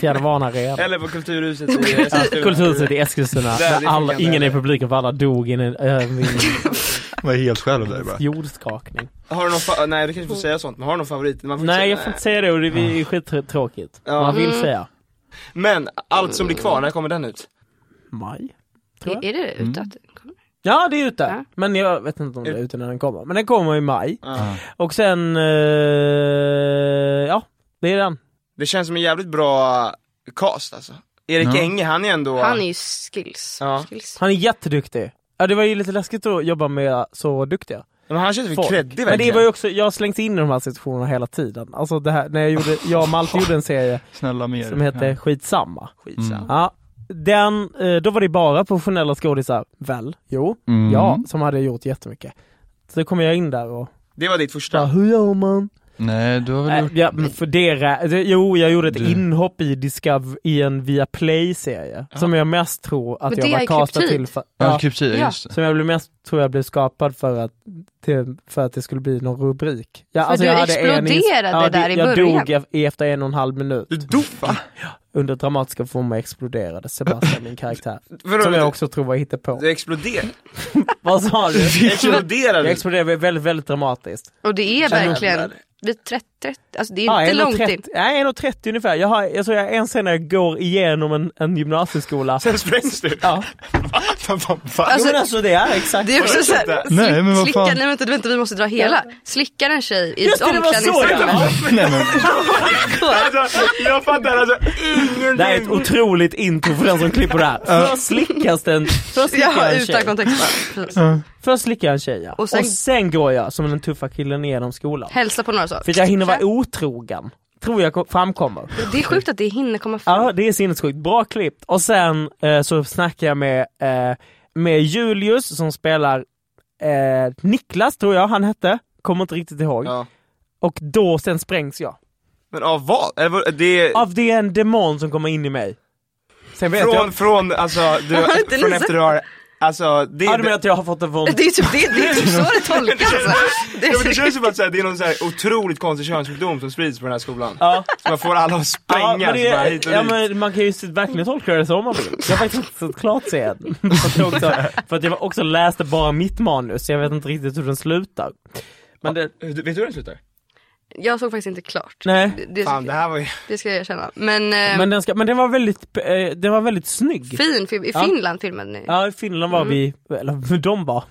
Fjärde var en arena.
Eller på Kulturhuset i Eskilstuna?
Kulturhuset i Eskilstuna,
Där, det
där
funkar
alla,
inte
ingen i
heller.
publiken för alla dog i eh, en övning.
Man är helt själv där bara.
Jordskakning.
Har du någon fa- nej du kanske får säga sånt, men har du någon favorit? Man får inte
Nej
säga-
jag får inte säga det och det är skittråkigt.
Ja.
Man vill
Mm.
säga.
Men, allt som blir kvar, när kommer den ut?
Maj?
Är, är det
Mm.
ute att det kommer?
Ja det är ute, men jag vet inte om det är ute när den kommer. Men den kommer i maj. Och sen, eh, ja det är den.
Det känns som en jävligt bra cast alltså. Erik
Ja.
Enge, han är ändå...
Han är ju skills. skills.
Han är jätteduktig. Ja det var ju lite läskigt att jobba med så duktiga.
Men han känns väl
folk.
creddig
Men det
verkligen.
var ju också, jag har slängt in i de här situationerna hela tiden. Alltså det här, när jag gjorde, jag och Malte gjorde en serie
Snälla mer.
som hette
Ja.
Skitsamma.
Skitsamma. Mm.
Ja, den, eh, då var det bara professionella skådisar, väl? Jo,
Mm.
ja, som hade gjort jättemycket. Så kom jag in där och
Det var ditt första?
hur gör man?
Nej, du har väl
Äh,
gjort...
ja, men för det, rä- det- jo, jag gjorde ett
Du-
inhopp i Discov i en Viaplay-serie som jag mest tror
Men
att
det
jag var
är
castad
kryptid.
till för,
Ja, kryptid, ja,
Ja.
just det.
som jag blev mest tror jag blev skapad för att, till, för att det skulle bli någon rubrik. Ja, alltså
För du
jag hade en ins-
exploderade där i
Jag
början.
dog e- efter en och en halv minut.
Du dog va?
Under dramatiska former exploderade Sebastian, min karaktär.
Vadå,
som jag
du-
också tror var hittepå.
Du exploderade?
Vad sa du?
exploderade
Jag
du?
exploderade väldigt, väldigt dramatiskt.
Och det är
Jävlar.
verkligen, det är 30, 30 alltså det är
Ja,
inte
1,30
långt in.
Nej, 1,30 ungefär. Jag har, jag, så jag, en scen när jag går igenom en, en gymnasieskola.
Sen sprängs du?
Ja.
Alltså-
jo, men alltså det är exakt
Det är också såhär,
Ursäkta.
Nej,
slick-
men vad
slicka,
fan.
nej vänta, vänta vi måste dra hela. Slickar en tjej i
Just
ett
det, det var så det
omklädningsrum.
var.
Nej, men,
Alltså, jag fattar alltså ingenting!
Det här är ett otroligt intro för den som klipper det här. Först slickas den, först slickar
Ja,
jag en
utan
tjej.
kontext bara. Precis.
Först slickar jag en tjej ja. och,
Och
sen...
sen-
går jag som den tuffa killen igenom skolan.
Hälsa på några så.
För att jag hinner vara otrogen. Tror jag kom- framkommer.
Det är sjukt att det hinner komma fram.
Ja, det är sinnessjukt. Bra klippt. Och sen eh, så snackar jag med, eh, med Julius som spelar eh, Niklas, tror jag han hette. Kommer inte riktigt ihåg.
Ja.
Och då, sen sprängs jag.
Men av vad? Eller vad- det...
Av det är en demon som kommer in i mig. Sen vet jag...
Från, från, alltså, du,
har inte
från
ni
efter du har, alltså det,
Ja, du menar att jag har fått det från...
Det är typ, det, det är typ så det tolkas. alltså.
Ja, men det
Det,
känns som att så här, det är någon så här otroligt konstig könssjukdom som sprids på den här skolan.
Ja.
Så man får alla att
Ja,
sprängas
men
bara
det,
hit och
ja,
dit.
men man kan ju verkligen tolka det som man vill. Jag har faktiskt inte sett klart serien. För att jag också, för att jag också läste bara mitt manus, jag vet inte riktigt hur den slutar. Men det,
Du- Vet du hur den slutar?
jag såg faktiskt inte klart.
nej.
Det, det,
Fan det
ska,
här var ju...
det ska jag erkänna. Men, eh,
Men den, ska, men den var väldigt, eh, den var väldigt snygg.
fin Mm. film, i
Ja.
Finland filmade ni.
Ja, i Finland var vi, eller de var.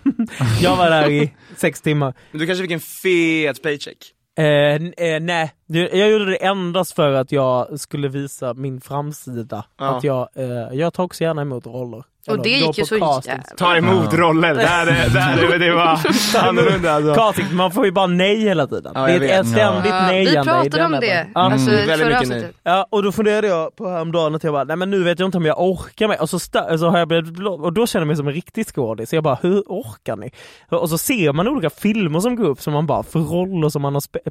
Jag var där i sex timmar.
Men Du kanske fick en fet paycheck?
Eh, n- eh, nej, jag jag gjorde det endast för att jag skulle visa min framsida.
Ja.
Att jag, eh, jag tar också gärna emot roller.
Och
Eller
det
går
gick ju
på
så
castings.
jävla...
Ta emot roller, där, är- där, är- det var annorlunda alltså.
Castings, man får ju bara nej hela tiden.
Ja, jag
det är ett
vet.
ständigt
Ja,
nej.
vi pratade om det,
Ja.
alltså i
Mm, Väldigt
förra
mycket nu.
avsnittet.
Mm. Ja, och då funderade jag på häromdagen att jag bara, nej men nu vet jag inte om jag orkar med. Och så, sta- så har jag blivit blå- och då känner jag mig som en riktig skådis. Så jag bara, hur orkar ni? Och så ser man olika filmer som går upp som man bara, för roller som man har spe-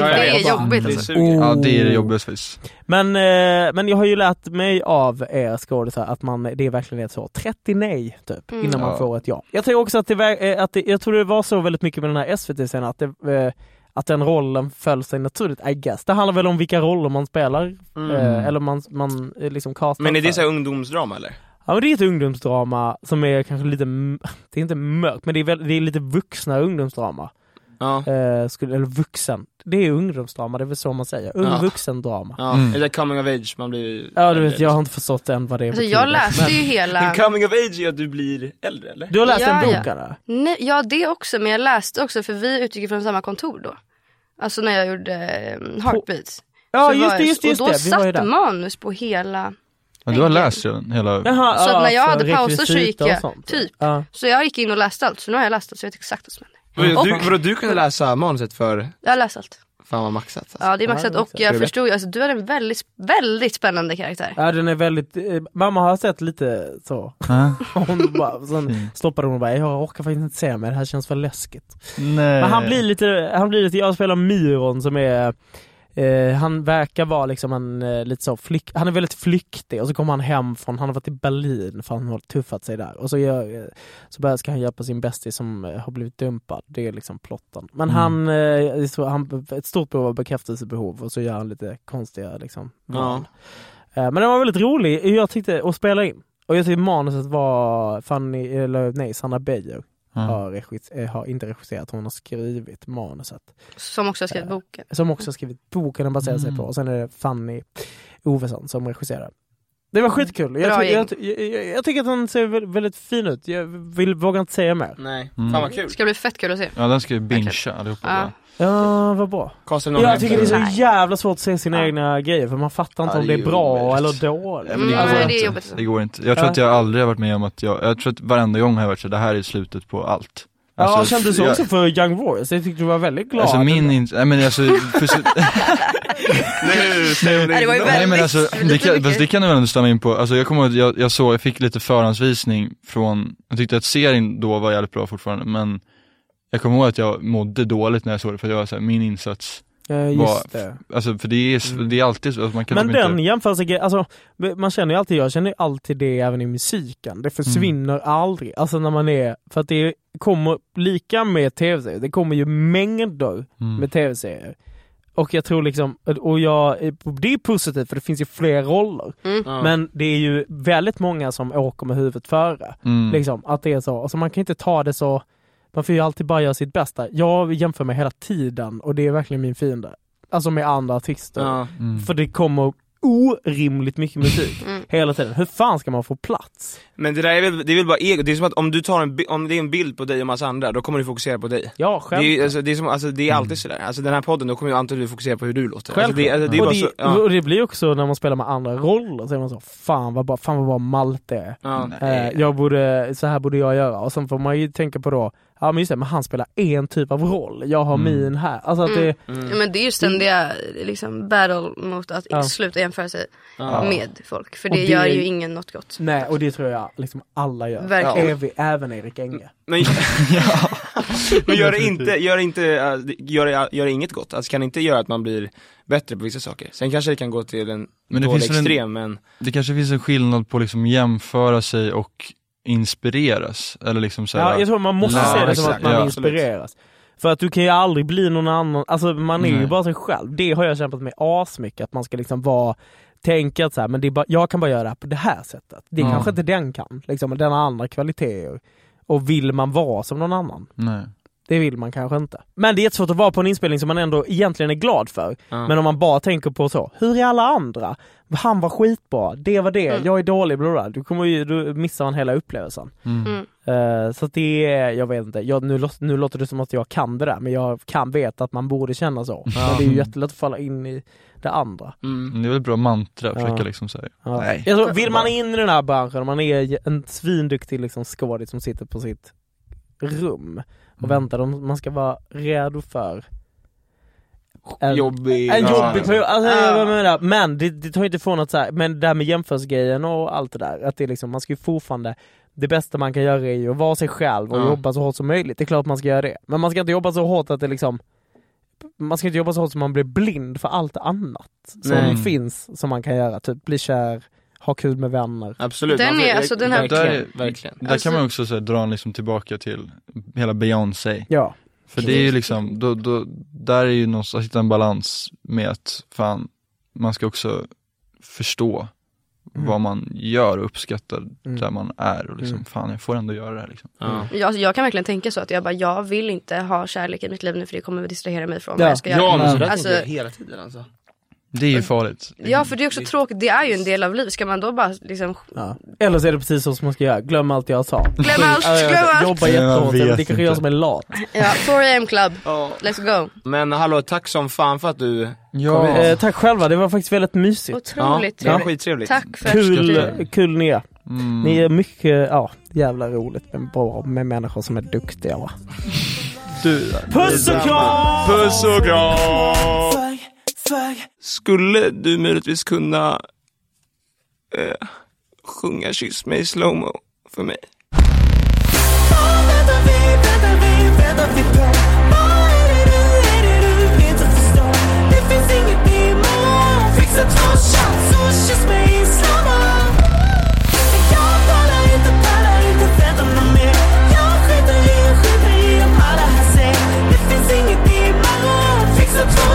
Mm,
för.
det
jag
är
Jag bara,
jobbigt
Det
alltså.
suger.
ja, det är
Oh.
det jobbigaste faktiskt.
Men, eh, men jag har ju lärt mig av er skådisar att man, det är verkligen ett så 30 nej typ,
Mm.
innan man
Ja.
får ett ja. Jag tror också att det, ver- eh, att det, jag tror det var så väldigt mycket med den här SVT-scenen att, det, eh, att den rollen föll sig naturligt, I guess. Det handlar väl om vilka roller man spelar, eh, eller man, man eh, liksom castar
Men är det
för.
så här ungdomsdrama eller?
Ja men det är ett ungdomsdrama som är kanske lite, m- det är inte mörkt, men det är, väl, det är lite vuxna ungdomsdrama.
Ja.
Eh, skulle, eller vuxen, det är ungdomsdrama, det är väl så man säger. Ung
Ja.
vuxendrama.
ja.
Mm.
Är det coming of age? Man blir...
Ja du vet, jag har inte förstått än vad det är
alltså
för
jag
kul.
läste ju
Men
hela...
coming of age är att du blir äldre eller?
Du har läst en
Ja,
bok
ja.
eller?
Nej, ja det också, men jag läste också för vi utgick från samma kontor då. Alltså när jag gjorde eh, Heartbeats.
Ja
Så
just
var
det,
jag-
just det, just
Och då
det. Vi var ju
satt
där.
manus på hela.
Ja, du har läst redan hela...
Jaha,
Så att när jag
ja,
hade
för
pauser så gick
rekvisita och
jag,
sånt.
typ.
Ja.
Så jag gick in och läste allt, så nu har jag läst allt så jag vet exakt vad som händer.
Vadå,
Och-
du, vadå, du kunde läsa manuset för,
Jag har läst allt.
Fan vad maxat. Alltså.
Ja det är maxat och jag
Är det
förstod ju, alltså, du är en väldigt, väldigt spännande karaktär.
Ja den är väldigt, eh, mamma har sett lite så. Hon bara, sen stoppade hon och bara, jag orkar faktiskt inte se mer, det här känns för läskigt.
Nej.
Men han blir lite, han blir lite, jag spelar Myron som är eh, han verkar vara liksom en, eh, lite så flyk, han är väldigt flyktig och så kommer han hem från, han har varit i Berlin för han har tuffat sig där och så, gör, eh, så börjar, ska han hjälpa sin bästis som eh, har blivit dumpad, det är liksom plotten. Men
Mm.
han, eh, är så, han, ett stort behov av bekräftelsebehov och så gör han lite konstiga liksom val. Eh, Men den var väldigt rolig, jag tyckte, att spela in. Och jag tyckte manuset var Fanny, eller nej, Sanna Beijer
Mm.
har, regis, eh, har inte regisserat, hon har skrivit manuset.
Som också har skrivit boken.
Som också har skrivit boken den baserar sig
Mm.
på. Och sen är det Fanny Ovesson som regisserar. Det var skitkul.
Bra
Jag, ty-
gäng.
jag, ty- jag, jag, jag tycker att den ser vä- väldigt fin ut. Jag vill, vågar inte säga mer.
Nej,
Mm.
fan vad kul.
Ska bli fett kul att se.
Ja den ska ju bingea allihopa.
Ja.
Ja, vad bra.
Castar någon
Jag
efter
tycker det är
det?
så jävla svårt att se sina egna grejer för man fattar inte
Ja,
om
det
det
är
är bra
omöjligt.
eller dåligt.
Nej, men det, går
Alltså-
inte. det går inte. Jag tror
Ja.
att jag aldrig har varit med om att jag, jag tror att varenda gång har jag varit så det här är slutet på allt. Alltså,
ja, kände så
jag-
också för Young Warriors? Jag tyckte du var väldigt glad.
Alltså min, in, nej men alltså, för så,
Nu säger
det var ju
nej men
väldigt-
alltså, det
lite
kan, fast
mycket.
det kan du väl ändå stämma in på, alltså jag kommer ihåg att jag, jag såg, jag fick lite förhandsvisning från, jag tyckte att serien då var jävligt bra fortfarande men jag kommer ihåg att jag mådde dåligt när jag såg det för jag var såhär, min insats
Ja, just
var,
det. Mm.
alltså för det är, s- det är alltid så, alltså, man kan
Men
typ
den
inte,
jämförelsen, alltså, man känner ju alltid, jag känner ju alltid det även i musiken.
Mm.
Det försvinner aldrig. Alltså när man är, för att det kommer, lika med tv-serier, det kommer ju mängder
Mm.
med tv-serier. Och jag tror liksom, och jag, det är positivt för det finns ju fler roller.
Ja.
Men det är ju väldigt många som åker med huvudet före.
Mm.
Liksom, att det är så. Alltså man kan inte ta det så, man får ju alltid bara göra sitt bästa. Jag jämför mig hela tiden och det är verkligen min fiende. Alltså med andra artister.
Ja. Mm.
För det kommer orimligt mycket musik hela tiden. Hur fan ska man få plats?
Men det där är väl, det är väl bara ego, det är som att om du tar en, bi- om det är en bild på dig och massa andra, då kommer du fokusera på dig.
Ja,
Det är, ju-
självklart.
alltså, det är, som, alltså, det är alltid sådär, alltså den här podden, då kommer ju antagligen du fokusera på hur du låter. Alltså, det, alltså, det är bara
och, det,
så, ja.
och det blir också när man spelar med andra roller, så är man så fan vad bra, fan vad bra Malte är.
Ja.
Eh, jag borde, så här borde jag göra. Och sen får man ju tänka på då, ja men just det, men han spelar en typ av roll, jag har
Mm.
min här. Alltså att det,
Ja, men det är ju ständiga liksom, battle mot att
Ja.
sluta jämföra sig
Ja.
med folk. För
Och
det,
det
gör
är-
ju ingen något gott.
Nej, och det tror jag liksom alla gör.
Verkligen.
Evi, även Erik Enge.
Men, men gör det inte, gör det inte, äh, det- gör det, gör det inget gott. Alltså kan det inte göra att man blir bättre på vissa saker. Sen kanske det kan gå till en
Men det
dålig
finns väl en-
extrem, men
det kanske finns en skillnad på liksom jämföra sig och inspireras, eller liksom såhär,
Ja, jag tror man måste
Ja,
se det som
exakt.
att man inspireras. För att du kan ju aldrig bli någon annan, alltså man är ju
Nej.
bara sig själv. Det har jag kämpat med asmycket, att man ska liksom vara, tänka att så här, men det är bara, jag kan bara göra det här på det här sättet. Det
Ja.
kanske inte den kan, liksom, den har andra kvaliteter. Och vill man vara som någon annan?
Nej.
Det vill man kanske inte. Men det är jättesvårt att vara på en inspelning som man ändå egentligen är glad för.
Ja.
Men om man bara tänker på så, hur är alla andra? Han var skitbra, det var det, jag är dålig, bla bla, bla. Du kommer ju, du missar man hela upplevelsen.
Mm.
Eh, så att det är, jag vet inte, jag, nu, låter, nu låter det som att jag kan det där men jag kan veta att man borde känna så.
Ja.
Men det är ju jättelätt att falla in i det andra.
Mm.
Men Det är väl ett bra mantra, att
Ja.
försöka liksom såhär,
Ja. Jag tror, vill man in i den här branschen, om man är en svinduktig liksom skådis som sitter på sitt rum och väntar, de- man ska vara redo för en
jobbig...
en
Ja. liksom.
jobbig period, alltså, jag menar, men det, det tar ju inte ifrån att så här, men det här med jämförelsegrejen och allt det där, att det är liksom, man ska ju fortfarande det bästa man kan göra är ju att vara sig själv och
Ja.
jobba så hårt som möjligt. Det är klart man ska göra det. Men man ska inte jobba så hårt att det liksom Man ska inte jobba så hårt så man blir blind för allt annat som
Nej.
finns som man kan göra. Typ bli kär, ha kul med vänner.
Absolut.
Den
man får-
är- alltså, den här-
verkligen,
Där är-
verkligen. Alltså-
Där kan man också så här, dra en liksom tillbaka till hela Beyoncé.
Ja.
För det är ju liksom, då, då, där är ju någonstans, hitta en balans med att fan, man ska också förstå
Mm.
vad man gör och uppskatta
Mm.
där man är och liksom,
Mm.
fan jag får ändå göra det här liksom.
Ja.
Jag, alltså, jag kan verkligen tänka så att jag bara, jag vill inte ha kärlek i mitt liv nu för det kommer att distrahera mig från
Ja.
vad jag ska göra.
Ja men sådär
Alltså,
tänker jag hela tiden alltså.
Det är ju farligt.
ja för det är också tråkigt, det är ju en del av livet. Ska man då bara liksom,
Ja. Eller så är det precis så som man ska göra, glöm allt jag sa.
Glöm allt,
Ja,
glöm allt.
Jobba
Nej, man
jättehårt,
vet
men det kanske
inte.
är jag som är lat.
ja 4am club, let's go.
Men hallå, tack som fan för att du kom hit.
Eh, tack själva, det var faktiskt väldigt mysigt.
Otroligt
Ja, det var skittrevligt.
Tack för att du...
Kul, eh, kul ni är.
Mm.
Ni är mycket, ja, jävla roligt men bra med människor som är duktiga va?
du...
Puss och kram! Puss och kram! Skulle du möjligtvis kunna eh, sjunga Kyss mig i slowmo för mig?